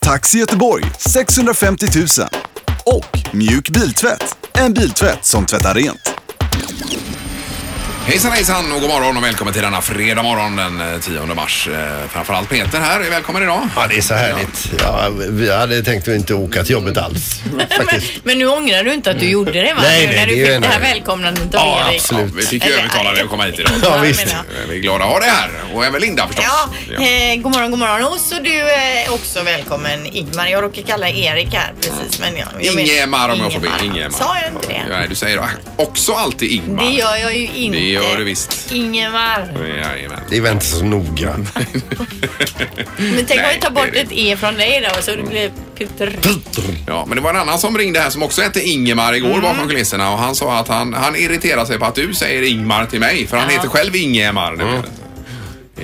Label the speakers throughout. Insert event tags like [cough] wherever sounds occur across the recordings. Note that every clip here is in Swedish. Speaker 1: Taxi Göteborg 650 000. Och Mjuk Biltvätt, en biltvätt som tvättar rent.
Speaker 2: Hejsan hejsan och god morgon och välkommen till denna fredag morgon den eh, 10 mars. Eh, Framförallt Peter här är välkommen idag.
Speaker 3: Ja, det är så härligt. Ja, vi hade tänkt att inte åka till jobbet alls. Faktiskt.
Speaker 4: Men nu ångrar du inte att du gjorde det
Speaker 3: Mm.
Speaker 4: va?
Speaker 3: Nej,
Speaker 4: nu
Speaker 3: nej,
Speaker 4: när du
Speaker 3: det är ju
Speaker 4: fick det här
Speaker 3: en-
Speaker 4: välkomnandet av
Speaker 3: Ja,
Speaker 4: Erik.
Speaker 3: absolut.
Speaker 2: Vi fick ju övertala dig att komma hit idag.
Speaker 3: Ja, visst.
Speaker 4: menar jag.
Speaker 2: Eh, Vi är glada att ha dig här och även Linda förstås.
Speaker 4: Ja,
Speaker 2: Ja.
Speaker 4: eh, god morgon, god morgon. Och så du eh, också välkommen Ingmar. Jag råkar kalla Erik här precis. Men jag, jag menar-
Speaker 2: Ingemar om jag får be. Ingemar.
Speaker 4: Sa jag inte det?
Speaker 2: Nej, du säger också alltid Ingmar.
Speaker 4: Det gör jag ju inte.
Speaker 2: Det gör du visst.
Speaker 4: Ingemar.
Speaker 2: Jajamän.
Speaker 3: Det var inte så noga.
Speaker 4: Men tänk om
Speaker 2: Nej,
Speaker 4: vi tar bort
Speaker 2: det är
Speaker 4: ett E från dig då så det blir Peter.
Speaker 2: Ja, men det var en annan som ringde här som också hette Ingemar
Speaker 4: Mm.
Speaker 2: igår bakom kulisserna och han sa att han, han irriterar sig på att du säger Ingmar till mig för han heter själv Ingemar. Mm.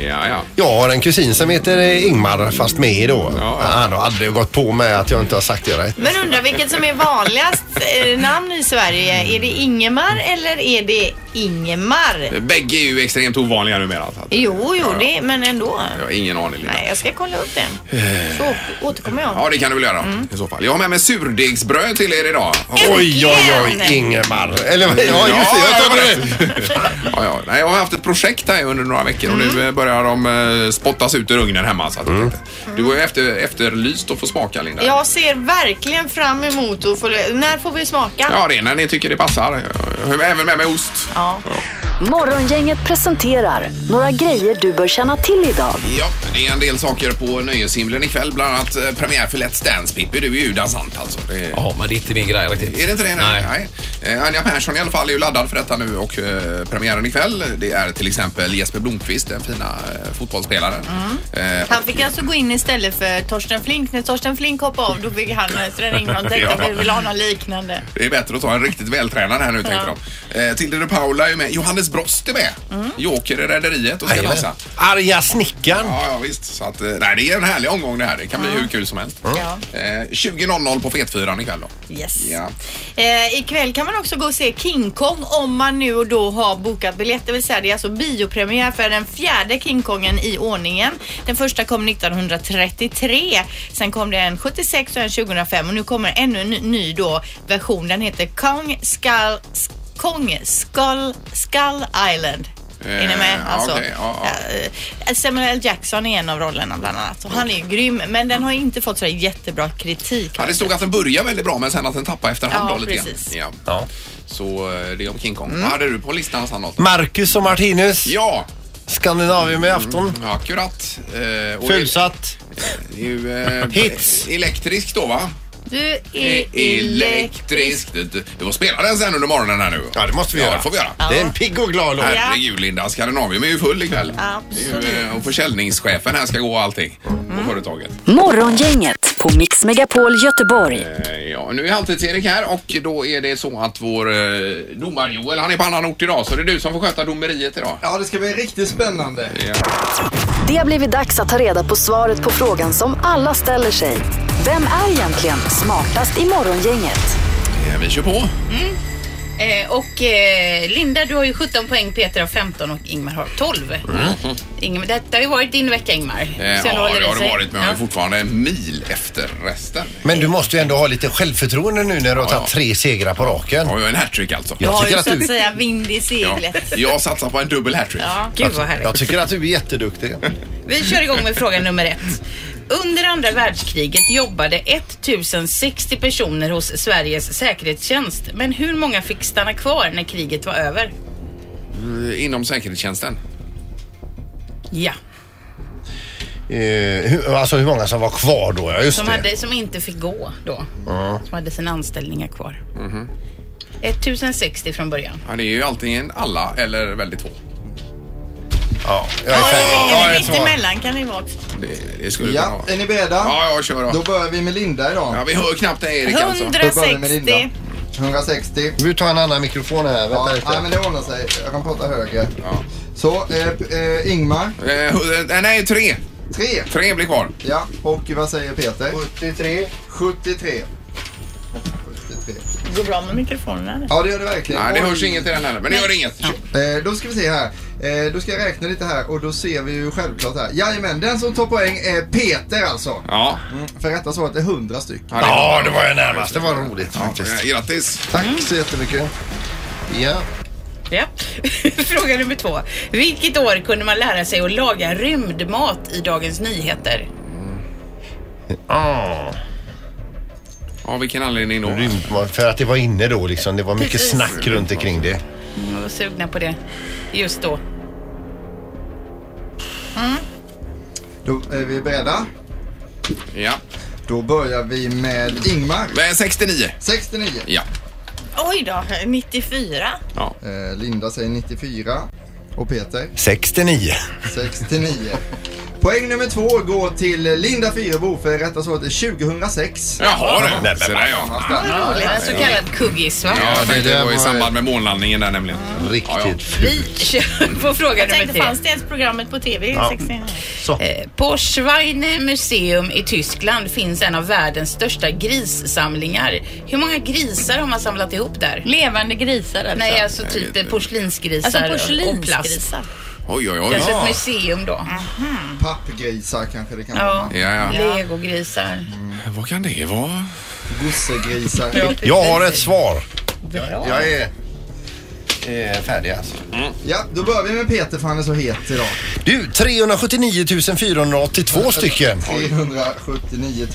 Speaker 2: Ja, ja.
Speaker 3: Jag har en kusin som heter Ingmar, fast med då.
Speaker 2: Ja.
Speaker 3: Han har aldrig gått på mig att jag inte har sagt det rätt.
Speaker 4: Men undrar vilket som är vanligast eh, namn i Sverige. Är det Ingemar eller är det Ingemar?
Speaker 2: Bägge är ju extremt ovanliga numera. Så att,
Speaker 4: Jo, jo,
Speaker 2: ja.
Speaker 4: det, men ändå.
Speaker 2: Jag har ingen aning. Linda.
Speaker 4: Nej, jag ska kolla upp den. Så åter- återkommer jag.
Speaker 2: Ja, det kan du väl göra i så fall. Jag har med mig surdegsbröd till er idag. Och-
Speaker 3: Oj, oj, oj, Ingemar. Eller ja, just det. Jag tar det rätt.
Speaker 2: ja, ja. Nej, jag har haft ett projekt här under några veckor och nu
Speaker 3: Mm.
Speaker 2: eh, börjar de eh, spottas ut ur ugnen hemma. Så att, Du har ju efter, efterlyst att få smaka Linda.
Speaker 4: Jag ser verkligen fram emot att få... När får vi smaka?
Speaker 2: Ja, det är när ni tycker det passar. Jag har även med mig ost.
Speaker 4: Ja.
Speaker 5: Morgongänget presenterar några grejer du bör känna till idag.
Speaker 2: Ja, det är en del saker på nöjeshimlen ikväll. Bland annat eh, premiär för Let's Dance, Pippi. Du är ju dansant alltså. Det är...
Speaker 6: Ja, men det är inte min grej riktigt.
Speaker 2: Är det inte det? nu?
Speaker 6: Nej.
Speaker 2: Nej. Eh, Anja Persson i alla fall är ju laddad för detta nu och eh, premiären ikväll. Det är till exempel Jesper Blomqvist, den fina eh, fotbollsspelaren. Eh,
Speaker 4: Han fick alltså gå in istället för Torsten Flink. När Torsten Flink hoppade av då fick han eh, träda
Speaker 2: [laughs]
Speaker 4: in och tänkte att vi vill ha något liknande.
Speaker 2: det är bättre att ta en riktigt vältränad här nu, tänkte de. Eh, Tilde de Paula är med. Johannes Brost är med.
Speaker 4: Mm.
Speaker 2: Joker i Rederiet och ska
Speaker 3: Jajamän.
Speaker 2: dansa.
Speaker 3: Arga snickaren.
Speaker 2: Ja, ja, visst. Så att, eh, nej, det är en härlig omgång det här. Det kan bli hur kul som helst.
Speaker 4: Ja.
Speaker 2: Eh, 20.00 på Fetfyran ikväll då.
Speaker 4: Yes.
Speaker 2: Ja.
Speaker 4: Eh, ikväll kan man också gå och se King Kong om man nu och då har bokat biljett. Det vill säga det är alltså biopremiär för den fjärde King Kongen i ordningen. Den första kom 1933. Sen kom det en 76 och en 2005 och nu kommer ännu en ny- ny då version. Den heter Kong Skull Kong Skull, Skull Island.
Speaker 2: Eh,
Speaker 4: är ni med?
Speaker 2: ja,
Speaker 4: Alltså,
Speaker 2: okej, ja, ja.
Speaker 4: eh, Samuel L. Jackson är en av rollerna bland annat. Och han är ju grym men den har inte fått så där jättebra kritik.
Speaker 2: Ja, det stod att den började väldigt bra men sen att den tappade efterhand
Speaker 4: Ja,
Speaker 2: då, lite grann.
Speaker 4: precis.
Speaker 2: Ja.
Speaker 3: Ja.
Speaker 2: Så eh, det är om King Kong.
Speaker 3: Mm.
Speaker 2: Vad hade du på listan Sandholt?
Speaker 3: Marcus och Martinus.
Speaker 2: Ja,
Speaker 3: Skandinavien med afton.
Speaker 2: akkurat. Eh, och
Speaker 3: Fullsatt.
Speaker 2: Det, det är ju eh,
Speaker 3: [laughs] Hits.
Speaker 2: elektrisk då va?
Speaker 4: Du
Speaker 2: E-
Speaker 4: är elek...
Speaker 2: elektrisk. Det, det det var spelaren sen under morgonen här nu.
Speaker 3: Ja, det måste vi
Speaker 2: Ja,
Speaker 3: göra.
Speaker 2: det får vi göra.
Speaker 3: Det är en pigg och glad låt.
Speaker 4: Ja.
Speaker 2: Herregud Linda, Skandinavien är ju full ikväll.
Speaker 4: Absolut.
Speaker 2: Det är ju, eh, Och försäljningschefen här ska gå och allting
Speaker 3: Mm.
Speaker 2: på företaget.
Speaker 5: Morgongänget på Mix Megapol Göteborg.
Speaker 2: Eh, Ja, nu är Halvtids-Erik här och då är det så att vår eh, domar-Joel, han är på annan ort idag så det är du som får sköta domeriet idag.
Speaker 7: Ja, det ska bli riktigt spännande.
Speaker 5: Det har blivit dags att ta reda på svaret på frågan som alla ställer sig. Vem är egentligen smartast i Morgongänget?
Speaker 2: Eh, Vi kör på.
Speaker 8: Eh, och eh, Linda, du har ju 17 poäng, Peter har 15 och Ingmar har 12. Ingmar, detta har ju varit din vecka Ingmar.
Speaker 2: Mm. Eh,
Speaker 8: Så
Speaker 2: ja,
Speaker 8: håller
Speaker 2: det har det
Speaker 8: sig.
Speaker 2: varit men jag är
Speaker 8: Ja.
Speaker 2: fortfarande en mil efter resten.
Speaker 3: Men du måste ju ändå ha lite självförtroende nu när du har
Speaker 2: Ja, ja.
Speaker 3: tagit tre segrar på raken.
Speaker 2: Jag har ju en hattrick alltså.
Speaker 3: Jag
Speaker 4: Ja,
Speaker 3: tycker
Speaker 4: ju
Speaker 3: att
Speaker 4: så att
Speaker 3: du-
Speaker 4: säga vind i
Speaker 2: Ja,
Speaker 4: seglet.
Speaker 2: jag satsar på en dubbel hattrick.
Speaker 8: Ja, gud vad härligt.
Speaker 3: Jag tycker att du är jätteduktig. Eh,
Speaker 8: Vi kör igång med fråga nummer ett. Under andra världskriget jobbade 1060 personer hos Sveriges säkerhetstjänst. Men hur många fick stanna kvar när kriget var över?
Speaker 2: Eh, Inom säkerhetstjänsten.
Speaker 8: Ja,
Speaker 3: Eh, hur, alltså hur många som var kvar då? Ja, just
Speaker 8: som,
Speaker 3: det.
Speaker 8: hade, som inte fick gå då. Som hade sina anställningar kvar. 1060 från början.
Speaker 2: Ja, det är ju antingen alla eller väldigt få.
Speaker 3: Ja, jag är
Speaker 4: Ja,
Speaker 3: färdig.
Speaker 4: eller
Speaker 2: jag är
Speaker 4: mitt
Speaker 2: klar.
Speaker 4: emellan kan det vara också.
Speaker 2: Det, det skulle kunna
Speaker 7: Ja,
Speaker 2: vara.
Speaker 7: är ni beredda?
Speaker 2: Ja, ja, kör då.
Speaker 7: Då börjar vi med Linda idag.
Speaker 2: Ja, vi hör knappt dig Erik alltså.
Speaker 4: 160.
Speaker 7: 160.
Speaker 3: Vi tar en annan mikrofon här.
Speaker 7: Ja,
Speaker 3: Vänta
Speaker 7: nej,
Speaker 3: lite.
Speaker 7: men det ordnar sig. Jag kan prata högre.
Speaker 2: Ja.
Speaker 7: Så, eh, p- eh, Ingmar.
Speaker 2: Eh, hu- eh, nej, tre.
Speaker 7: Tre.
Speaker 2: Tre blir kvar.
Speaker 7: Ja, och vad säger Peter?
Speaker 3: 73.
Speaker 7: 73. 73.
Speaker 4: Det går bra med mikrofonerna. eller?
Speaker 7: Ja, det gör det verkligen.
Speaker 2: Nej, det
Speaker 7: Oj.
Speaker 2: hörs inget i den heller. Men det gör inget.
Speaker 7: Eh, då ska vi se här. Eh, då ska jag räkna lite här och då ser vi ju självklart här. Jajamän, den som tar poäng är Peter alltså.
Speaker 2: Ja.
Speaker 7: Mm, för rätta svaret är 100 stycken.
Speaker 2: Ja, det-
Speaker 3: Ja, det var jag närmast. Det var roligt faktiskt.
Speaker 2: Ja, Grattis.
Speaker 3: Tack så jättemycket. Ja.
Speaker 8: Ja. [laughs] Fråga nummer två. Vilket år kunde man lära sig att laga rymdmat i Dagens Nyheter?
Speaker 3: Ah,
Speaker 2: Av vilken anledning då?
Speaker 3: rymdmat. För att det var inne då liksom. Det var mycket
Speaker 8: Precis.
Speaker 3: snack runt omkring det.
Speaker 8: Mm, Jag var sugna på det just då.
Speaker 7: Då är vi beredda.
Speaker 2: Ja.
Speaker 7: Då börjar vi med Ingmar.
Speaker 2: Men 69.
Speaker 7: 69.
Speaker 2: Ja.
Speaker 4: Oj då, 94.
Speaker 2: ja.
Speaker 7: Eh, Linda säger 94. Och Peter
Speaker 3: 69.
Speaker 7: 69. [laughs] Poäng nummer två går till Linda Fyrebo för rätta svaret är 2006.
Speaker 2: Jaha
Speaker 3: Nej,
Speaker 2: du.
Speaker 3: men-
Speaker 2: Så där ja.
Speaker 8: En så kallad kuggis va?
Speaker 2: Ja, jag tänkte
Speaker 3: det
Speaker 2: det var i
Speaker 3: var-
Speaker 2: samband med månlandningen där nämligen. Ja, ja.
Speaker 3: Riktigt
Speaker 8: Vi [laughs] kör på fråga nummer
Speaker 4: Jag tänkte,
Speaker 8: tre.
Speaker 4: fanns det ens programmet på TV?
Speaker 3: Ja.
Speaker 4: 69.
Speaker 3: Så.
Speaker 8: Eh, På Schweine Museum i Tyskland finns en av världens största grissamlingar. Hur många grisar har man samlat ihop där?
Speaker 6: Levande grisar alltså.
Speaker 8: Nej, alltså typ eh, porslinsgrisar
Speaker 6: alltså
Speaker 8: och- och plast.
Speaker 6: porslinsgrisar.
Speaker 2: Oj, oj, oj.
Speaker 8: Kanske
Speaker 2: Ja,
Speaker 8: ett museum då.
Speaker 7: Pappgrisar kanske det kan
Speaker 8: Ja.
Speaker 7: vara.
Speaker 2: ja.
Speaker 8: Legogrisar.
Speaker 2: Vad kan det vara?
Speaker 7: Gossegrisar.
Speaker 3: Jag har ett svar.
Speaker 8: Bra.
Speaker 3: Jag är, är färdig alltså.
Speaker 7: Ja, då börjar vi med Peter för han är så het idag.
Speaker 3: Du, 379 482 stycken.
Speaker 7: 379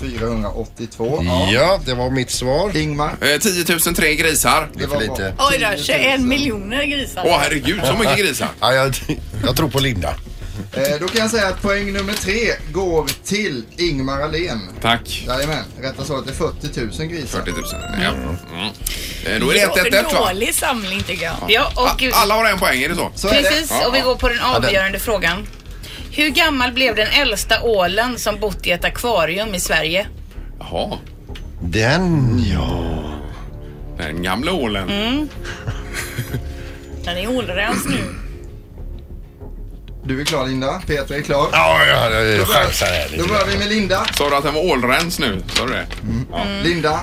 Speaker 7: 482.
Speaker 3: Ja, det var mitt svar.
Speaker 7: Ingmar.
Speaker 2: Eh, 10 003 grisar.
Speaker 3: Det är för lite.
Speaker 4: Oj då, 21
Speaker 7: Eh,
Speaker 4: miljoner grisar.
Speaker 2: Åh herregud, så mycket grisar.
Speaker 3: Ja, jag, jag tror på Linda.
Speaker 7: Eh, då kan jag säga att poäng nummer tre går till Ingmar Ahlén.
Speaker 2: Tack.
Speaker 7: Jajamän, rätta svaret är 40 000 grisar.
Speaker 2: 40 000. Ja. Mm. Eh, Då är det 1 1 va?
Speaker 4: Dålig samling tycker jag.
Speaker 8: Ja,
Speaker 2: Ah,
Speaker 8: och
Speaker 2: Alla har en poäng, är det så?
Speaker 7: Så är det.
Speaker 8: precis. Och vi går på den avgörande frågan. Hur gammal blev den äldsta ålen som bott i ett akvarium i Sverige?
Speaker 2: Jaha.
Speaker 3: Den, ja.
Speaker 2: Den gamla ålen.
Speaker 3: Mm.
Speaker 4: Den är ålrens nu.
Speaker 7: Du är klar Linda, Peter är klar.
Speaker 3: Ja, ja, ja, jag chansar här
Speaker 7: Då börjar vi
Speaker 3: lite.
Speaker 7: med Linda.
Speaker 2: Sa du att den var ålrens nu? Sa du det?
Speaker 7: Linda,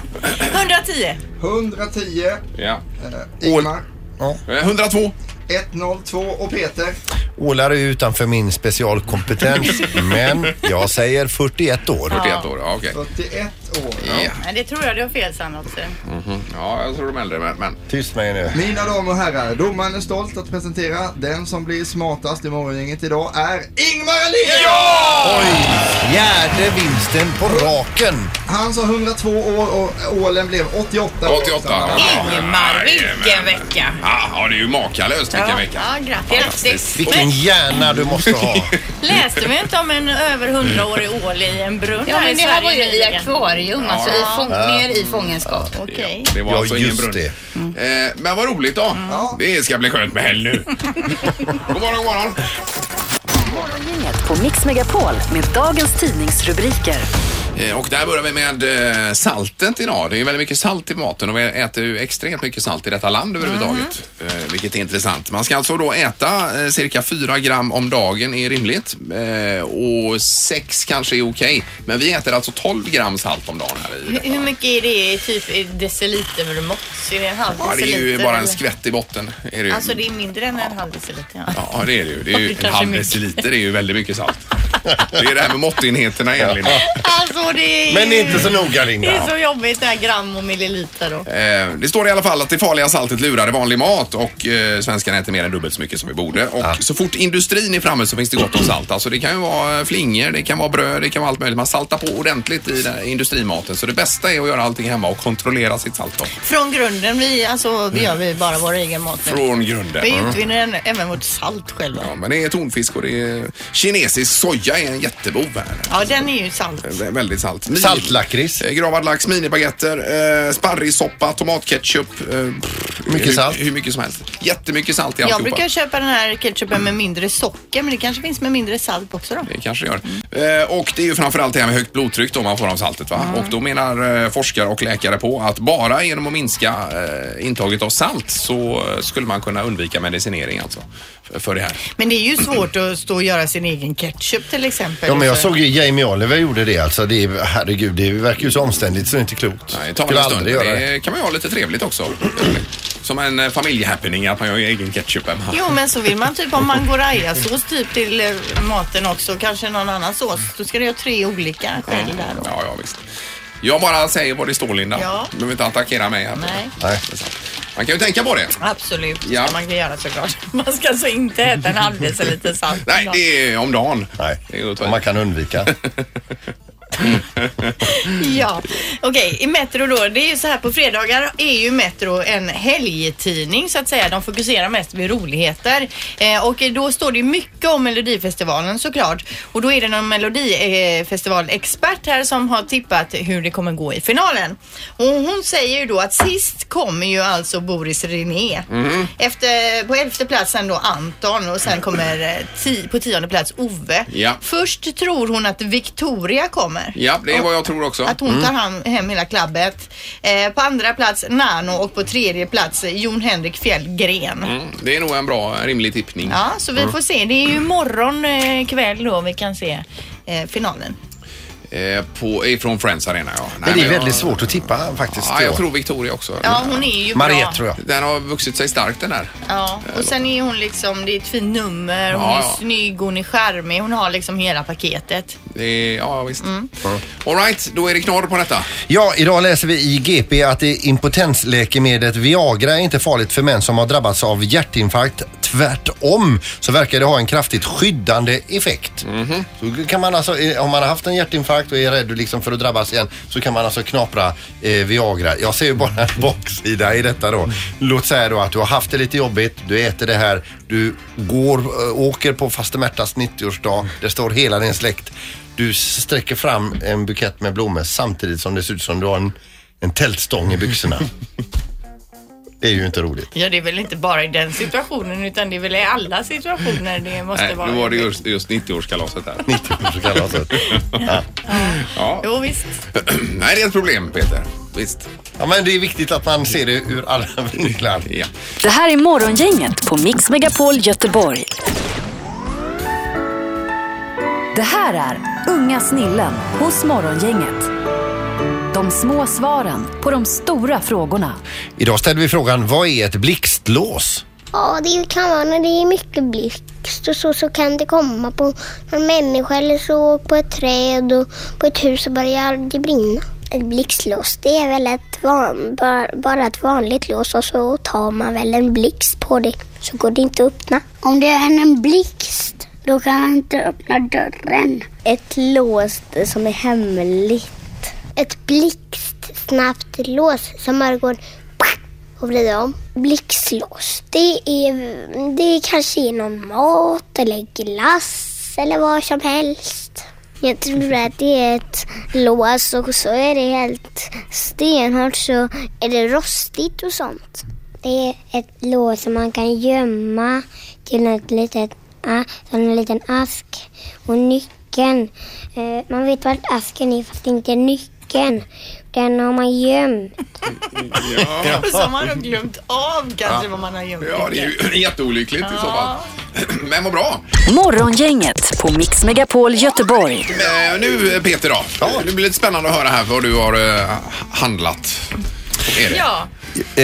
Speaker 4: 110.
Speaker 7: 110.
Speaker 2: Ja.
Speaker 7: Ingmar,
Speaker 2: Eh, 102.
Speaker 7: 102 och Peter.
Speaker 3: Ålar är utanför min [laughs] specialkompetens, men jag säger 41 år.
Speaker 2: 41 år, ja okej.
Speaker 7: 41 år.
Speaker 2: Ja.
Speaker 4: Men det tror jag du har fel Sanna också.
Speaker 2: ja, jag tror de är äldre men... men.
Speaker 3: Tyst med er nu.
Speaker 7: Mina damer och herrar, domaren är stolt att presentera den som blir smartast i morgongänget idag är Ingmar Ahlén!
Speaker 3: Fjärde vinsten på raken.
Speaker 7: Han sa 102 år och ålen blev 88 år.
Speaker 2: 88.
Speaker 8: Ingmar, vilken
Speaker 2: Jajamän.
Speaker 8: vecka!
Speaker 2: Ja, ja, det är ju makalöst vilken
Speaker 8: Ja.
Speaker 2: vecka.
Speaker 4: Ja, grattis.
Speaker 8: Grattis!
Speaker 3: Vilken hjärna du måste
Speaker 2: [laughs]
Speaker 3: ha.
Speaker 4: Läste vi inte om en över 100-årig ål i en brunn
Speaker 8: Ja,
Speaker 4: här i
Speaker 8: men det här var ju i
Speaker 4: nyligen?
Speaker 8: akvarium, alltså i fång, mer i fångenskap.
Speaker 4: Okej.
Speaker 2: Det var
Speaker 3: Ja,
Speaker 2: alltså ingen
Speaker 3: just
Speaker 2: brunn.
Speaker 3: det.
Speaker 2: Eh, men vad roligt då.
Speaker 4: Mm.
Speaker 2: Det ska bli skönt med helg
Speaker 4: [laughs]
Speaker 2: nu. god morgon, god morgon.
Speaker 5: Morgongänget på Mix Megapol med dagens tidningsrubriker.
Speaker 2: Eh, Och där börjar vi med eh, saltet idag. Det är ju väldigt mycket salt i maten och vi äter ju extremt mycket salt i detta land överhuvudtaget.
Speaker 4: Mhm.
Speaker 2: Eh, Vilket är intressant. Man ska alltså då äta eh, cirka 4 gram om dagen är rimligt eh, och 6 kanske är okej. Men vi äter alltså 12 gram salt om dagen här i
Speaker 4: Hur mycket är det i typ i decilitermått? Är det en halv
Speaker 2: Ja,
Speaker 4: deciliter?
Speaker 2: det är ju bara en
Speaker 4: eller?
Speaker 2: skvätt i botten. Är det ju.
Speaker 4: Alltså det är mindre än en halv deciliter. Ja.
Speaker 2: Ja, det är det ju. Det är ju
Speaker 4: Det
Speaker 2: en
Speaker 4: kanske
Speaker 2: halv
Speaker 4: är mycket.
Speaker 2: deciliter är ju väldigt mycket salt.
Speaker 4: [laughs]
Speaker 2: Det är det här med måttenheterna igen, Linda.
Speaker 4: Alltså det är
Speaker 3: Men
Speaker 4: ju-
Speaker 3: inte så noga
Speaker 4: Det är
Speaker 3: Linda.
Speaker 4: så jobbigt det här gram och milliliter då.
Speaker 2: Eh, Det står i alla fall att det farliga saltet lurade vanlig mat och eh, svenskarna äter mer än dubbelt så mycket som vi borde. Och så fort industrin är framme så finns det gott om salt. Alltså det kan ju vara flingor, det kan vara bröd, det kan vara allt möjligt. Man saltar på ordentligt i den här industrimaten. Så det bästa är att göra allting hemma och kontrollera sitt salt då.
Speaker 4: Från grunden, vi, alltså, vi gör vi bara vår egen mat nu.
Speaker 2: Från grunden.
Speaker 4: Vi
Speaker 2: Mm.
Speaker 4: utvinner en- även vårt salt själva.
Speaker 2: Ja, men det är tonfisk och det är kinesisk soja Detta är en jättebov här.
Speaker 4: Ja, den är ju salt.
Speaker 2: Vä- Väldigt salt. Mini-
Speaker 3: Saltlakrits.
Speaker 2: Eh, Gravad lax, minibaguetter, eh, sparrissoppa, tomatketchup. Eh, pff,
Speaker 3: Mycket
Speaker 2: hur,
Speaker 3: salt.
Speaker 2: Hur mycket som helst. Jättemycket salt i
Speaker 4: Jag
Speaker 2: alltihopa.
Speaker 4: brukar köpa den här ketchupen med mindre socker, men det kanske finns med mindre salt också då.
Speaker 2: Det kanske det gör. Eh, och det är ju framförallt det här med högt blodtryck då man får av saltet. Va? Och då menar eh, forskare och läkare på att bara genom att minska eh, intaget av salt så eh, skulle man kunna undvika medicinering alltså. För, för det här.
Speaker 4: Men det är ju svårt att stå och göra sin egen ketchup till exempel.
Speaker 3: Ja, men jag
Speaker 4: Så-
Speaker 3: såg ju Jamie Oliver gjorde det alltså. Det är, herregud, det verkar ju så omständigt så det är inte klokt.
Speaker 2: Nej, det tar
Speaker 3: Skulle
Speaker 2: en stund.
Speaker 3: aldrig göra det.
Speaker 2: Det kan man ju ha lite trevligt också. Som en eh, familjehappening att man gör egen ketchup hemma.
Speaker 4: Jo, men så vill man typ ha mangorajasås typ till eh, maten också. Kanske någon annan sås. Då ska du göra tre olika själv där då.
Speaker 2: Ja, ja visst. Jag bara säger vad det står Linda.
Speaker 4: Ja.
Speaker 2: Du behöver inte attackera mig här.
Speaker 4: Nej.
Speaker 3: Nej.
Speaker 2: Man kan ju tänka på det.
Speaker 4: Absolut,
Speaker 2: Ja.
Speaker 4: ja. man kan göra såklart. [laughs] Man ska alltså inte äta en alldeles för lite salt.
Speaker 2: Nej, det är om dagen. Det är
Speaker 3: Nej,
Speaker 2: gott.
Speaker 3: om man
Speaker 2: [laughs]
Speaker 3: kan undvika.
Speaker 4: Ja, okej. I Metro då, det är ju så här på fredagar är ju Metro en helgtidning så att säga. De fokuserar mest vid roligheter. Eh, och då står det ju mycket om Melodifestivalen såklart. Och då är det någon Melodifestivalexpert här som har tippat hur det kommer gå i finalen. Och hon säger ju då att sist kommer ju alltså Boris René. Efter, på elfte plats sen då Anton och sen kommer eh, ti, på tionde plats Ove.
Speaker 2: Ja.
Speaker 4: Först tror hon att Victoria kommer.
Speaker 2: Ja, Mm. det är vad jag tror också.
Speaker 4: Att hon tar hand, hem hela klabbet. Eh, på andra plats Nano och på tredje plats eh, Jon Henrik Fjällgren.
Speaker 2: Mm, det är nog en bra, en rimlig tippning.
Speaker 4: Ja, så vi får se. Det är ju imorgon eh, kväll då vi kan se eh, finalen.
Speaker 2: Eh, på, ifrån Friends Arena, ja. Nej,
Speaker 3: Men det är
Speaker 2: jag-
Speaker 3: väldigt svårt att tippa faktiskt.
Speaker 2: Ja, jag tror Victoria också.
Speaker 4: Ja, hon är ju
Speaker 3: Mariette
Speaker 4: bra.
Speaker 3: tror jag.
Speaker 2: Den har vuxit sig stark den här.
Speaker 4: Ja, och sen är hon liksom, det är ett fint nummer, hon
Speaker 2: Ja,
Speaker 4: är
Speaker 2: ja.
Speaker 4: snygg, hon är charmig, hon har liksom hela paketet.
Speaker 2: Det är, ja, visst.
Speaker 4: Mm.
Speaker 2: All right, då är det knorr på detta.
Speaker 3: Ja, idag läser vi i GP att det impotensläkemedlet Viagra är inte farligt för män som har drabbats av hjärtinfarkt. Tvärtom så verkar det ha en kraftigt skyddande effekt. Så kan man alltså, eh, om man har haft en hjärtinfarkt och är rädd liksom för att drabbas igen så kan man alltså knapra eh, Viagra. Jag ser ju bara en baksida i detta då. Låt säga då att du har haft det lite jobbigt, du äter det här, du går, eh, åker på faste Märtas 90-årsdag, det står hela din släkt. Du sträcker fram en bukett med blommor samtidigt som det ser ut som du har en, en tältstång i byxorna. Det är ju inte roligt.
Speaker 4: Ja, det är väl inte bara i den situationen utan det är väl i alla situationer
Speaker 2: [laughs]
Speaker 4: det måste
Speaker 2: Nej,
Speaker 4: vara.
Speaker 2: nu var det just, just 90-årskalaset där.
Speaker 3: 90-årskalaset.
Speaker 2: Ja. [clears throat]
Speaker 4: Jo, visst.
Speaker 2: Nej, det är ett problem Peter. Visst.
Speaker 3: Ja men det är viktigt att man ser det ur alla vinklar.
Speaker 2: Ja.
Speaker 5: Det här är Morgongänget på Mix Megapol Göteborg. Det här är Unga snillen hos Morgongänget. De små svaren på de stora frågorna.
Speaker 3: Idag ställer vi frågan, vad är ett blixtlås?
Speaker 6: Ja, det kan vara när det är mycket blixt och så, så kan det komma på en människa eller så, på ett träd och på ett hus och börjar det brinna. Ett blixtlås, det är väl ett van, bara, bara ett vanligt lås och så tar man väl en blixt på det så går det inte att öppna. Om det är en blixt, då kan man inte öppna dörren. Ett lås som är hemligt. Ett blixtsnabbt lås som bara går och vrida om. Blixtlås, det, är, det kanske är någon mat eller glass eller vad som helst. Jag tror att det är ett lås och så är det helt stenhårt så är det rostigt och sånt. Det är ett lås som man kan gömma till något litet, a- som en liten ask. Och nyckeln, eh, man vet vart asken är fast inte nyckeln. Den har man gömt.
Speaker 4: Och så har man nog glömt av kanske vad man har gömt.
Speaker 2: ja, det är ju jätteolyckligt i så fall. [clears throat] Men vad bra.
Speaker 5: Morgongänget på Mix Megapol Göteborg.
Speaker 2: Eh, nu Peter då. Ja. Det blir lite spännande att höra här vad du har eh, handlat. Är det?
Speaker 4: Ja,
Speaker 3: Eh,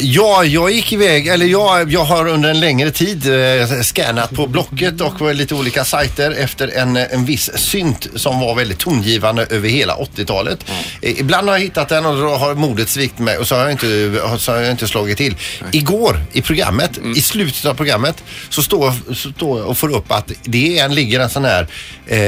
Speaker 3: ja, jag gick iväg, eller jag, jag har under en längre tid eh, scannat på Blocket och på lite olika sajter efter en, en viss synt som var väldigt tongivande över hela 80-talet.
Speaker 2: Mm.
Speaker 3: Eh, ibland har jag hittat den och då har modet svikt mig och så har jag inte, så har jag inte slagit till. Igår i programmet,
Speaker 2: Mm.
Speaker 3: i slutet av programmet, så står, jag- så står jag och får upp att det är en, ligger en sån här eh,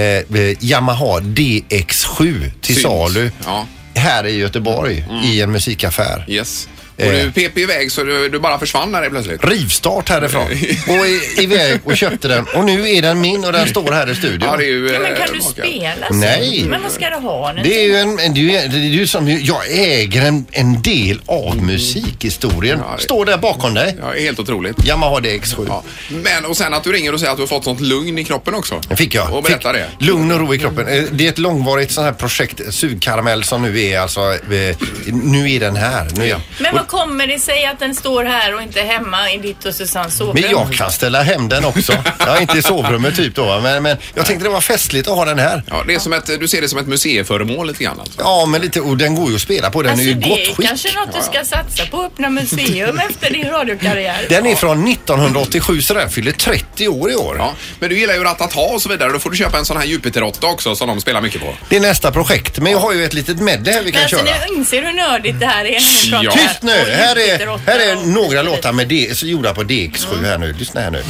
Speaker 3: Yamaha DX7 till
Speaker 2: Synt.
Speaker 3: salu
Speaker 2: Ja. Mm.
Speaker 3: här i Göteborg i en musikaffär.
Speaker 2: Yes. Och du pep iväg så du, du bara försvann där plötsligt.
Speaker 3: Rivstart härifrån. [laughs] Och i- iväg och köpte den. Och nu är den min och den står här i studion.
Speaker 2: Ja, det är ju...
Speaker 4: Ja, men
Speaker 2: eh,
Speaker 4: kan du
Speaker 2: maka.
Speaker 4: spela
Speaker 3: Nej.
Speaker 4: Men vad ska du ha nu?
Speaker 3: Det är ju en, en, det är ju- det är ju som, jag äger en, en del av musikhistorien.
Speaker 2: det-
Speaker 3: Står där bakom dig.
Speaker 2: Ja, helt otroligt.
Speaker 3: Yamaha DX7.
Speaker 2: Ja. Men och sen att du ringer och säger att du har fått sånt lugn i kroppen också.
Speaker 3: Den fick jag.
Speaker 2: Och berätta
Speaker 3: fick
Speaker 2: det.
Speaker 3: Lugn och ro i kroppen. Eh, Det är ett långvarigt sånt här projekt, sugkaramell som nu är alltså, eh, nu är den här. Nu är jag.
Speaker 4: Men vad kommer det sig att den står här och inte hemma i ditt och Susannes sovrum?
Speaker 3: Men jag kan ställa hem den också. Ja, inte i sovrummet typ då va, men, men jag tänkte det var festligt att ha den här.
Speaker 2: Ja, det är som ett, du ser det som ett museiföremål lite grann alltså.
Speaker 3: Ja, men lite, och den går ju att spela på. Den
Speaker 4: Alltså
Speaker 3: är ju i
Speaker 4: det
Speaker 3: gott
Speaker 4: är kanske
Speaker 3: skick.
Speaker 4: något du ska satsa på, att
Speaker 3: [laughs]
Speaker 4: öppna museum efter din radiokarriär.
Speaker 3: Den är från 1987 så den fyller 30 år i år.
Speaker 2: Ja, men du gillar ju ratata och så vidare. Då får du köpa en sån här Jupiter-8 också som de spelar mycket på.
Speaker 3: Det är nästa projekt, men jag har ju ett litet medley här vi
Speaker 4: Men
Speaker 3: kan
Speaker 4: alltså
Speaker 3: köra.
Speaker 4: nu inser du hur nördigt det här är när ni pratar.
Speaker 2: Ja.
Speaker 4: här.
Speaker 3: Tyst nu!
Speaker 4: Och
Speaker 3: Här är,
Speaker 4: Jupiter
Speaker 3: här är
Speaker 4: 8.
Speaker 3: några låtar med D, så gjorda på DX7 här nu. Lyssna här nu.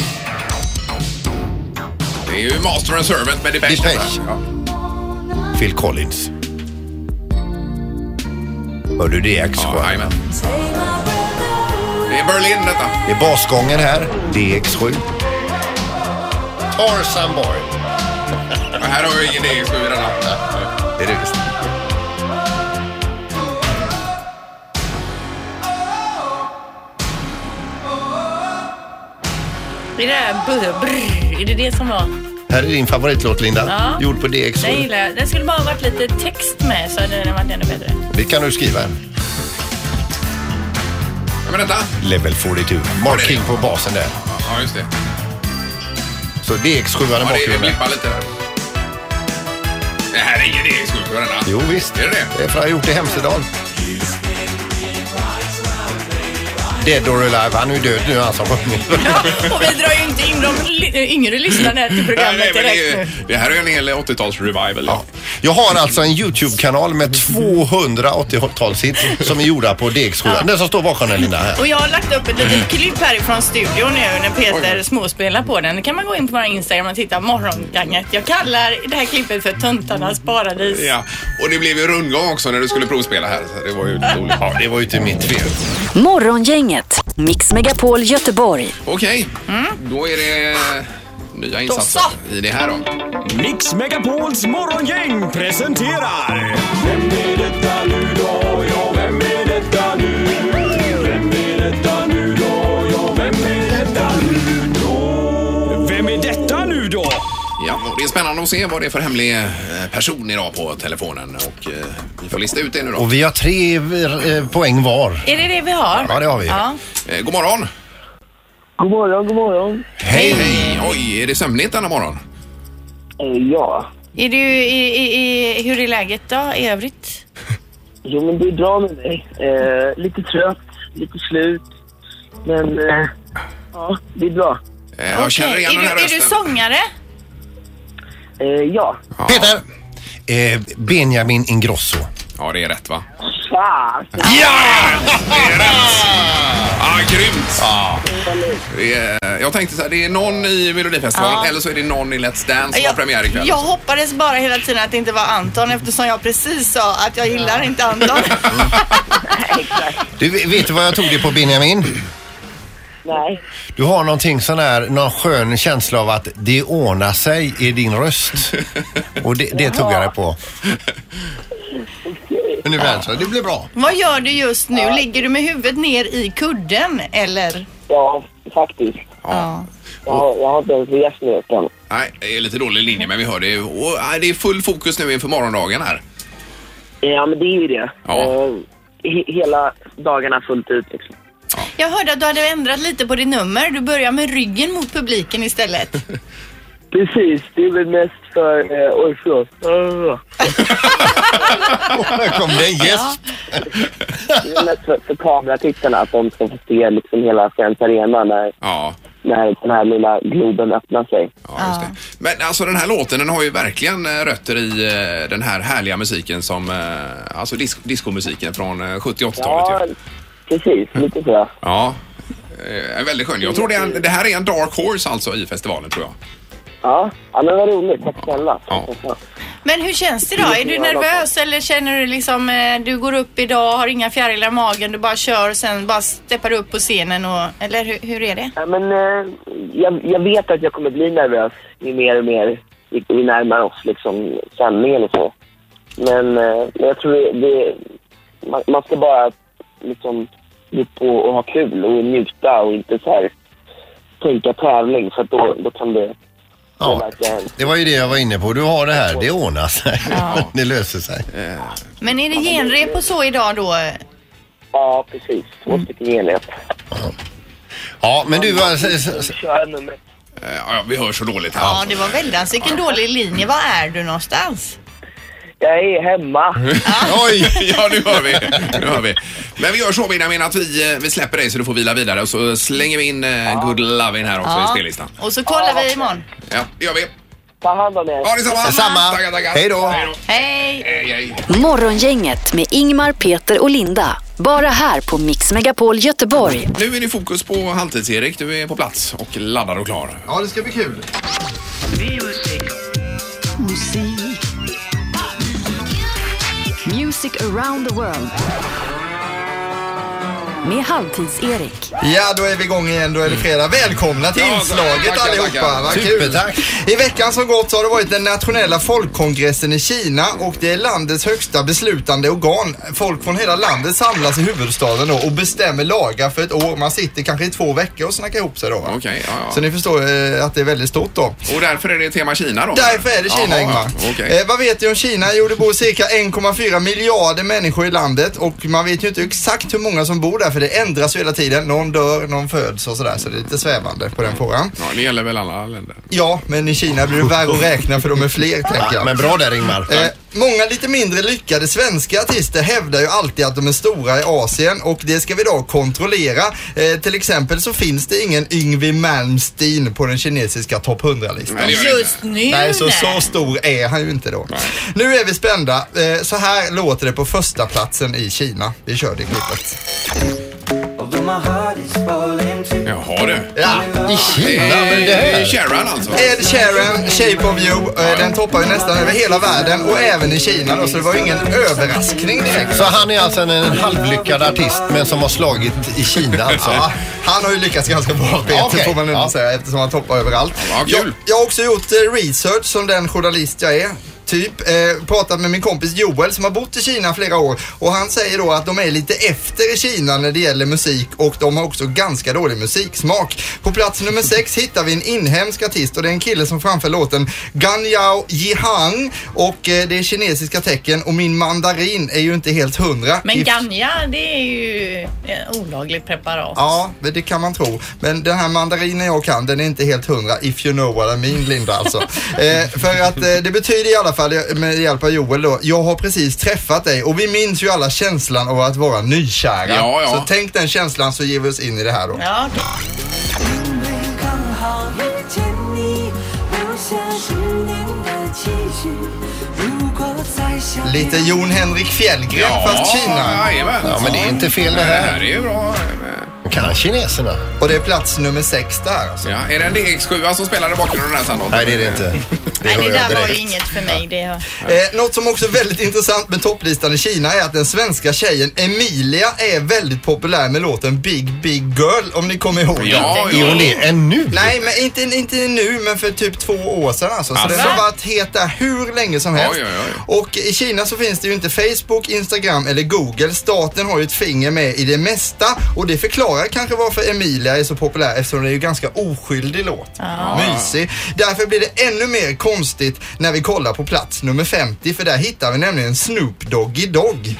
Speaker 2: Det är ju Master and Servant med Depeche.
Speaker 3: Depeche.
Speaker 2: Mode. Ja.
Speaker 3: Phil Collins. Hör du
Speaker 2: Ja,
Speaker 3: DX7?
Speaker 2: jajamän. det är Berlin detta.
Speaker 3: det är basgången här. DX7. Tarzan Boy.
Speaker 2: Men här har vi ingen egen sju redan.
Speaker 3: Det är det visst.
Speaker 4: Är det där brr, brr, är det det som var?
Speaker 3: Här är din favoritlåt Linda.
Speaker 4: Ja.
Speaker 3: Gjord på
Speaker 4: Den
Speaker 3: DX7.
Speaker 4: gillar jag. Den skulle bara ha varit lite text med så hade den varit ännu bättre.
Speaker 3: Det kan du skriva. en.
Speaker 2: Ja, men detta.
Speaker 3: Level 42. Mark King på basen där.
Speaker 2: Ja, just det.
Speaker 3: Så DX7 är
Speaker 2: Ja, det, det
Speaker 3: bakgrunden.
Speaker 2: blippar lite där. Det här är ingen egen sju redan.
Speaker 3: Jo visst.
Speaker 2: Är det det?
Speaker 3: är för jag har gjort det i Hemsedal. Dead or alive. Han är ju död nu han som sjunger.
Speaker 4: Ja, och vi drar ju inte in de li- yngre lyssnarna här till
Speaker 2: [laughs] Nej, nej,
Speaker 4: programmet
Speaker 2: men det,
Speaker 4: direkt
Speaker 2: är,
Speaker 4: nu.
Speaker 2: ju- det här är ju en hel 80-tals revival.
Speaker 3: Ja. Jag har alltså en YouTube-kanal med 200 80-talshits som är gjorda på DX7. Den som står bakom den Linda här.
Speaker 4: Och jag har lagt upp ett
Speaker 2: Mm.
Speaker 4: litet klipp härifrån studion nu när Peter småspelar på den. Då kan man gå in på vår Instagram och titta morgonganget. Jag kallar det här klippet för Töntarnas paradis.
Speaker 2: Ja, och det blev ju rundgång också när du skulle provspela här. Så det var ju lite roligt.
Speaker 3: Ja, det var ju inte mitt fel.
Speaker 5: Morgongänget, Mix Megapol Göteborg.
Speaker 2: Okej, då är det nya insatser i det här då.
Speaker 9: Mix Megapols morgongäng presenterar... Vem är detta nu då? Ja, vem är detta nu? Vem är detta nu då? Ja, vem är detta nu då? Vem är detta nu då?
Speaker 2: Ja, och det är spännande att se vad det är för hemlig eh, person idag på telefonen. Och eh, vi får lista ut det nu då.
Speaker 3: Och vi har tre eh, poäng var.
Speaker 4: Är det det vi har?
Speaker 3: Ja, det har vi.
Speaker 4: Ja.
Speaker 2: Eh, God morgon!
Speaker 10: God morgon, god morgon.
Speaker 3: Hej!
Speaker 2: Hej! Oj, är det sömnigt denna morgon?
Speaker 10: Eh, ja,
Speaker 4: Är du, i, i, i, hur är läget då i övrigt?
Speaker 10: jo men det är bra med mig. Eh, lite trött, lite slut. Men eh, ja, det är bra.
Speaker 2: Eh, Jag känner igen
Speaker 4: Okej,
Speaker 2: den här
Speaker 4: är, du, är du
Speaker 2: rösten.
Speaker 4: sångare?
Speaker 10: Eh, ja,
Speaker 3: Peter! Eh, Benjamin Ingrosso.
Speaker 2: Ja, det är rätt va?
Speaker 10: fan.
Speaker 2: Ah, grymt! Det är, eh, jag tänkte så här, det är någon i Melodifestivalen eller så är det någon i Let's Dance som har premiär ikväll.
Speaker 4: jag hoppades bara hela tiden att det inte var Anton eftersom jag precis sa att jag gillar inte
Speaker 2: [laughs]
Speaker 4: Anton.
Speaker 3: Du, vet du vad jag tog dig på Benjamin?
Speaker 10: Nej.
Speaker 3: Du har någonting sån här, någon skön känsla av att det ordnar sig i din röst. Och det, det tog jag dig på. Ungefär så. Det blir bra.
Speaker 4: Vad gör du just nu? Ligger du med huvudet ner i kudden eller?
Speaker 10: Ja, faktiskt.
Speaker 4: Ja.
Speaker 10: Jag har, jag har inte ens rest mig upp än.
Speaker 2: Nej, det är lite dålig linje men vi hör det. ju. Och, nej, det är full fokus nu inför morgondagen här.
Speaker 10: Ja, men det är ju det.
Speaker 2: Ja.
Speaker 10: Eh, he- hela dagarna fullt ut liksom.
Speaker 4: Jag hörde att du hade ändrat lite på ditt nummer. Du börjar med ryggen mot publiken istället.
Speaker 10: Precis, det är väl mest för... Eh, oj, förlåt. Uh,
Speaker 3: Här kom det en gäsp.
Speaker 10: det är mest för, för kameratittarna, att de ska få se liksom hela Friends Arena när,
Speaker 2: Ja,
Speaker 10: när den här lilla globen öppnar sig.
Speaker 2: ja just det. Men alltså den här låten den har ju verkligen eh, rötter i eh, den här härliga musiken som, eh, alltså dis- discomusiken från eh, 70 80-talet
Speaker 10: Ja,
Speaker 2: ju.
Speaker 10: precis. Lite så.
Speaker 2: Ja. Eh, är väldigt skön. Jag tror det, är en, det här är en dark horse alltså i festivalen tror jag.
Speaker 10: Ja, ja men vad roligt. Tack snälla.
Speaker 2: Ja.
Speaker 4: Men hur känns det då? Är du nervös eller känner du liksom eh, du går upp idag, har inga fjärilar i magen, du bara kör och sen bara steppar du upp på scenen och eller hur, hur är det?
Speaker 10: Ja, men, eh, jag, jag vet att jag kommer bli nervös ju mer och mer vi, vi närmar oss liksom, sändningen och så. Men, eh, men jag tror det, det, man, man ska bara liksom, gå upp och, och ha kul och njuta och inte så här, tänka tävling för att då, då kan det, det verka hemskt.
Speaker 3: Det var ju det jag var inne på. Du har det här, det ordnar sig. [laughs] det löser sig.
Speaker 4: Men är det genrep och så idag då?
Speaker 10: Ja, precis. Två stycken genrep.
Speaker 3: Ja, men du eh, var...
Speaker 2: Eh, Ja, vi hör så dåligt här.
Speaker 4: Ja, det var väldans. Vilken dålig linje. Var är du någonstans?
Speaker 10: Jag är hemma.
Speaker 2: [laughs] Oj! Ja, nu hör, vi. nu hör vi. Men vi gör så Benjamin att vi, eh, vi släpper dig så du får vila vidare och så slänger vi in eh, Good Lovin' här också i spellistan.
Speaker 4: Och så kollar vi imorgon.
Speaker 2: Ja, det gör vi.
Speaker 10: Ta hand om er.
Speaker 2: Ja, detsamma.
Speaker 3: Detsamma.
Speaker 2: Tackar, tackar.
Speaker 3: Hej då.
Speaker 4: Hej!
Speaker 2: Hej, hej.
Speaker 5: Morgongänget med Ingmar, Peter och Linda. Bara här på Mix Megapol Göteborg.
Speaker 2: Nu är det fokus på Halvtids-Erik. Du är på plats och laddad och klar.
Speaker 7: Ja, det ska bli kul.
Speaker 5: Music around the world. Med Halvtids-Erik.
Speaker 7: Ja, då är vi igång igen. Då är det fredag. Välkomna till
Speaker 2: Mm. Ja,
Speaker 7: inslaget
Speaker 2: tackar,
Speaker 7: allihopa.
Speaker 2: tackar.
Speaker 7: Vad kul.
Speaker 3: Supertack.
Speaker 7: I veckan som gått så har det varit den nationella folkkongressen i Kina och det är landets högsta beslutande organ. Folk från hela landet samlas i huvudstaden då och bestämmer lagar för ett år. Man sitter kanske i två veckor och snackar ihop sig då. va?
Speaker 2: Okej, ja, ja.
Speaker 7: Så ni förstår eh, att det är väldigt stort då.
Speaker 2: Och därför är det tema Kina då?
Speaker 7: Därför är det Kina,
Speaker 2: Jaha,
Speaker 7: Ingmar.
Speaker 2: ja, Okej.
Speaker 7: Eh, vad vet du om Kina? Jo, det bor cirka 1,4 miljarder människor i landet och man vet ju inte exakt hur många som bor där för det ändras ju hela tiden. Någon dör, någon föds och sådär, så det är lite svävande på den frågan.
Speaker 2: Ja, det gäller väl alla länder?
Speaker 7: Ja, men i Kina blir det värre att räkna för de är fler, tänker jag.
Speaker 3: Men bra där Ingmar.
Speaker 7: Eh, många lite mindre lyckade svenska artister hävdar ju alltid att de är stora i Asien och det ska vi då kontrollera. Eh, till exempel så finns det ingen Yngwie Malmsteen på den kinesiska topp 100-listan.
Speaker 2: Nej, det gör det inte.
Speaker 4: Just nu
Speaker 7: Nej, så,
Speaker 4: nej.
Speaker 7: så stor är han ju inte då. Nu är vi spända. Eh, Så här låter det på första platsen i Kina. Vi kör det klippet.
Speaker 2: Jaha du.
Speaker 7: Ja.
Speaker 3: I Kina? Men det
Speaker 2: Det är
Speaker 3: här.
Speaker 2: Sharon alltså.
Speaker 7: Ed Sheeran, Shape of You, eh, den toppar ju nästan över hela världen och även i Kina då, så det var ju ingen överraskning direkt.
Speaker 3: Så han är alltså en, en halvlyckad artist men som har slagit i Kina alltså.
Speaker 7: Ja, han har ju lyckats ganska bra Peter
Speaker 3: Okej,
Speaker 7: får man ändå
Speaker 3: ja.
Speaker 7: säga eftersom han toppar överallt.
Speaker 2: Ja, kul.
Speaker 7: Jag, jag har också gjort eh, research som den journalist jag är. Typ, eh, pratat med min kompis Joel som har bott i Kina flera år och han säger då att de är lite efter i Kina när det gäller musik och de har också ganska dålig musiksmak. På plats nummer sex hittar vi en inhemsk artist och det är en kille som framför låten Gan Yao Jihang och eh, det är kinesiska tecken och min mandarin är ju inte helt hundra.
Speaker 4: Men
Speaker 7: If-
Speaker 4: ganja, det är ju ett olagligt preparat.
Speaker 7: Ja, men det kan man tro. Men den här mandarinen jag kan, den är inte helt hundra. If you know what I mean, Linda
Speaker 2: [laughs]
Speaker 7: alltså. eh, för att eh, det betyder i alla fall, eh, med hjälp av Joel då, jag har precis träffat dig och vi minns ju alla känslan av att vara nykära.
Speaker 2: Ja, ja.
Speaker 7: Så tänk den känslan så ger vi oss in i det här då.
Speaker 4: Ja, okej.
Speaker 7: Lite Jon Henrik Fjällgren fast Kina.
Speaker 2: jajamän.
Speaker 3: Ja, men det är inte fel det här.
Speaker 2: Det här är ju bra.
Speaker 3: Kan kineserna?
Speaker 7: Och det är plats nummer sex där alltså.
Speaker 2: Ja, är det en DX7 som spelar i bakgrunden där Sandholt?
Speaker 3: Nej det är det inte. Det
Speaker 4: Nej,
Speaker 3: hör
Speaker 4: det
Speaker 3: jag
Speaker 4: där var ju
Speaker 3: direkt.
Speaker 4: inget för mig. Det har...
Speaker 7: Eh, något som också är väldigt intressant med topplistan i Kina är att den svenska tjejen Emilia är väldigt populär med låten Big Big Girl om ni kommer ihåg den.
Speaker 2: Ja,
Speaker 3: Är hon det ännu?
Speaker 7: Nej, men inte, inte nu, men för typ två år sedan alltså. Så
Speaker 2: Asså?
Speaker 7: den har varit het där hur länge som helst.
Speaker 2: Oj, oj,
Speaker 7: Och i Kina så finns det ju inte Facebook, Instagram eller Google. Staten har ju ett finger med i det mesta och det förklarar kanske varför Emilia är så populär eftersom det är ju ganska oskyldig låt. Mysig. Därför blir det ännu mer konstigt när vi kollar på plats nummer 50 för där hittar vi nämligen Snoop Doggy Dogg.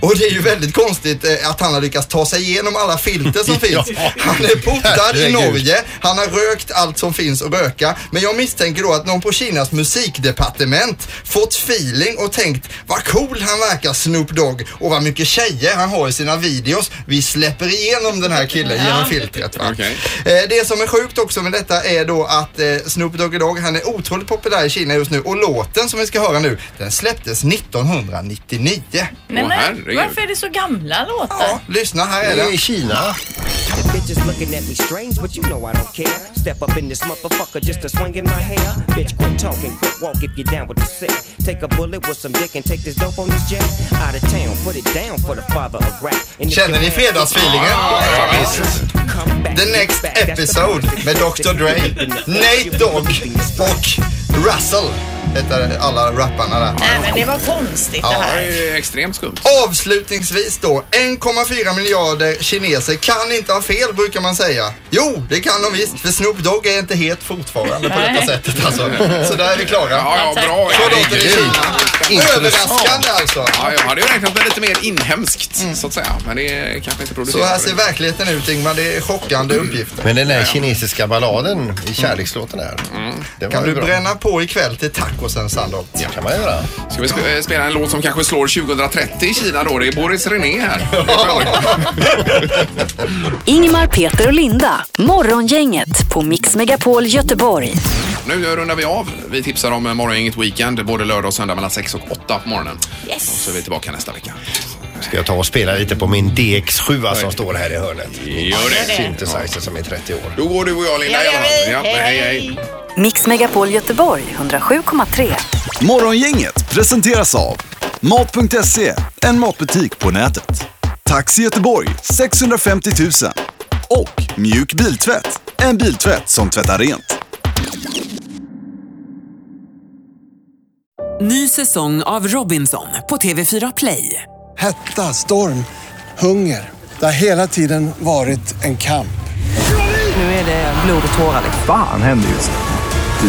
Speaker 7: Och det är ju väldigt konstigt eh, att han har lyckats ta sig igenom alla filter som finns.
Speaker 3: Ja.
Speaker 7: Han är portad i
Speaker 3: Herregud.
Speaker 7: Norge Sverige. Han har rökt allt som finns att röka. Men jag misstänker då att någon på Kinas musikdepartement fått feeling och tänkt vad cool han verkar Snoop Dogg och vad mycket tjejer han har i sina videos. Vi släpper igenom den här killen genom filtret. Va?
Speaker 2: Okej.
Speaker 7: Eh, Det som är sjukt också med detta är då att eh, Snoop Doggy Dogg han är otroligt populär i Kina just nu och låten som vi ska höra nu den släpptes 1999.
Speaker 4: Nej,
Speaker 2: Åh,
Speaker 4: men,
Speaker 2: herregud.
Speaker 4: varför är det så gamla låtar?
Speaker 7: Ja, lyssna här
Speaker 3: Det
Speaker 7: är
Speaker 3: är
Speaker 7: den.
Speaker 3: i Kina.
Speaker 11: The bitches looking at me strange, but you know I don't care. Step up in this motherfucker just to swing in my hair. Bitch, quit talking, quit walk if you're down with the sick. Take a bullet with some dick and take this dope on this jet. Out of town, put it down for the father of rap. And if
Speaker 7: Känner
Speaker 11: your
Speaker 7: ni
Speaker 11: ass-
Speaker 7: fredagsfeelingen? The next episode med Dr Dre, Nate Dogg och Russell heter alla rapparna där.
Speaker 4: Nej, men det var konstigt det här.
Speaker 2: extremt skumt.
Speaker 7: Avslutningsvis då, 1,4 miljarder kineser kan inte ha fel brukar man säga. Jo, det kan de visst, för Snoop Dogg är inte het fortfarande på detta sättet alltså. Så där är vi klara.
Speaker 2: Ja, ja, bra.
Speaker 7: Så låter det i Kina. Överraskande alltså.
Speaker 2: Ja, jag hade ju räknat med lite mer inhemskt så att säga. Men det är kanske inte
Speaker 7: Så
Speaker 2: producerat.
Speaker 7: här ser verkligheten ut Ingmar, det är chockande uppgifter.
Speaker 3: Men den där kinesiska balladen i kärlekslåten här. den var
Speaker 7: Kan
Speaker 3: ju
Speaker 7: du
Speaker 3: bra.
Speaker 7: bränna på ikväll till tacosen Sandholt? Ja,
Speaker 3: kan man göra.
Speaker 2: Ska vi sk- eh, spela en låt som kanske slår 2030 i Kina då? Det är Boris René här.
Speaker 5: Ingmar, Peter och Linda. Morgongänget på Mix Megapol Göteborg.
Speaker 2: Nu rundar vi av. Vi tipsar om eh, Morgongänget Weekend både lördag och söndag mellan 6 och 8 på morgonen. Yes. Och så är vi tillbaka nästa vecka.
Speaker 3: Ska jag ta och spela lite på min DX7 som står här i hörnet.
Speaker 2: Gör det.
Speaker 3: Synthesizer som är 30 år.
Speaker 2: Då går du och jag Linda i alla fall. Ja, hej hej.
Speaker 5: Mix Megapol Göteborg 107,3.
Speaker 1: Morgongänget presenteras av Mat.se, en matbutik på nätet. Taxi Göteborg 650 000 och Mjuk Biltvätt, en biltvätt som tvättar rent.
Speaker 12: Ny säsong av Robinson på TV4 Play.
Speaker 13: Hetta, storm, hunger. Det har hela tiden varit en kamp.
Speaker 12: Nu är det blod och tårar.
Speaker 14: Fan händer just nu.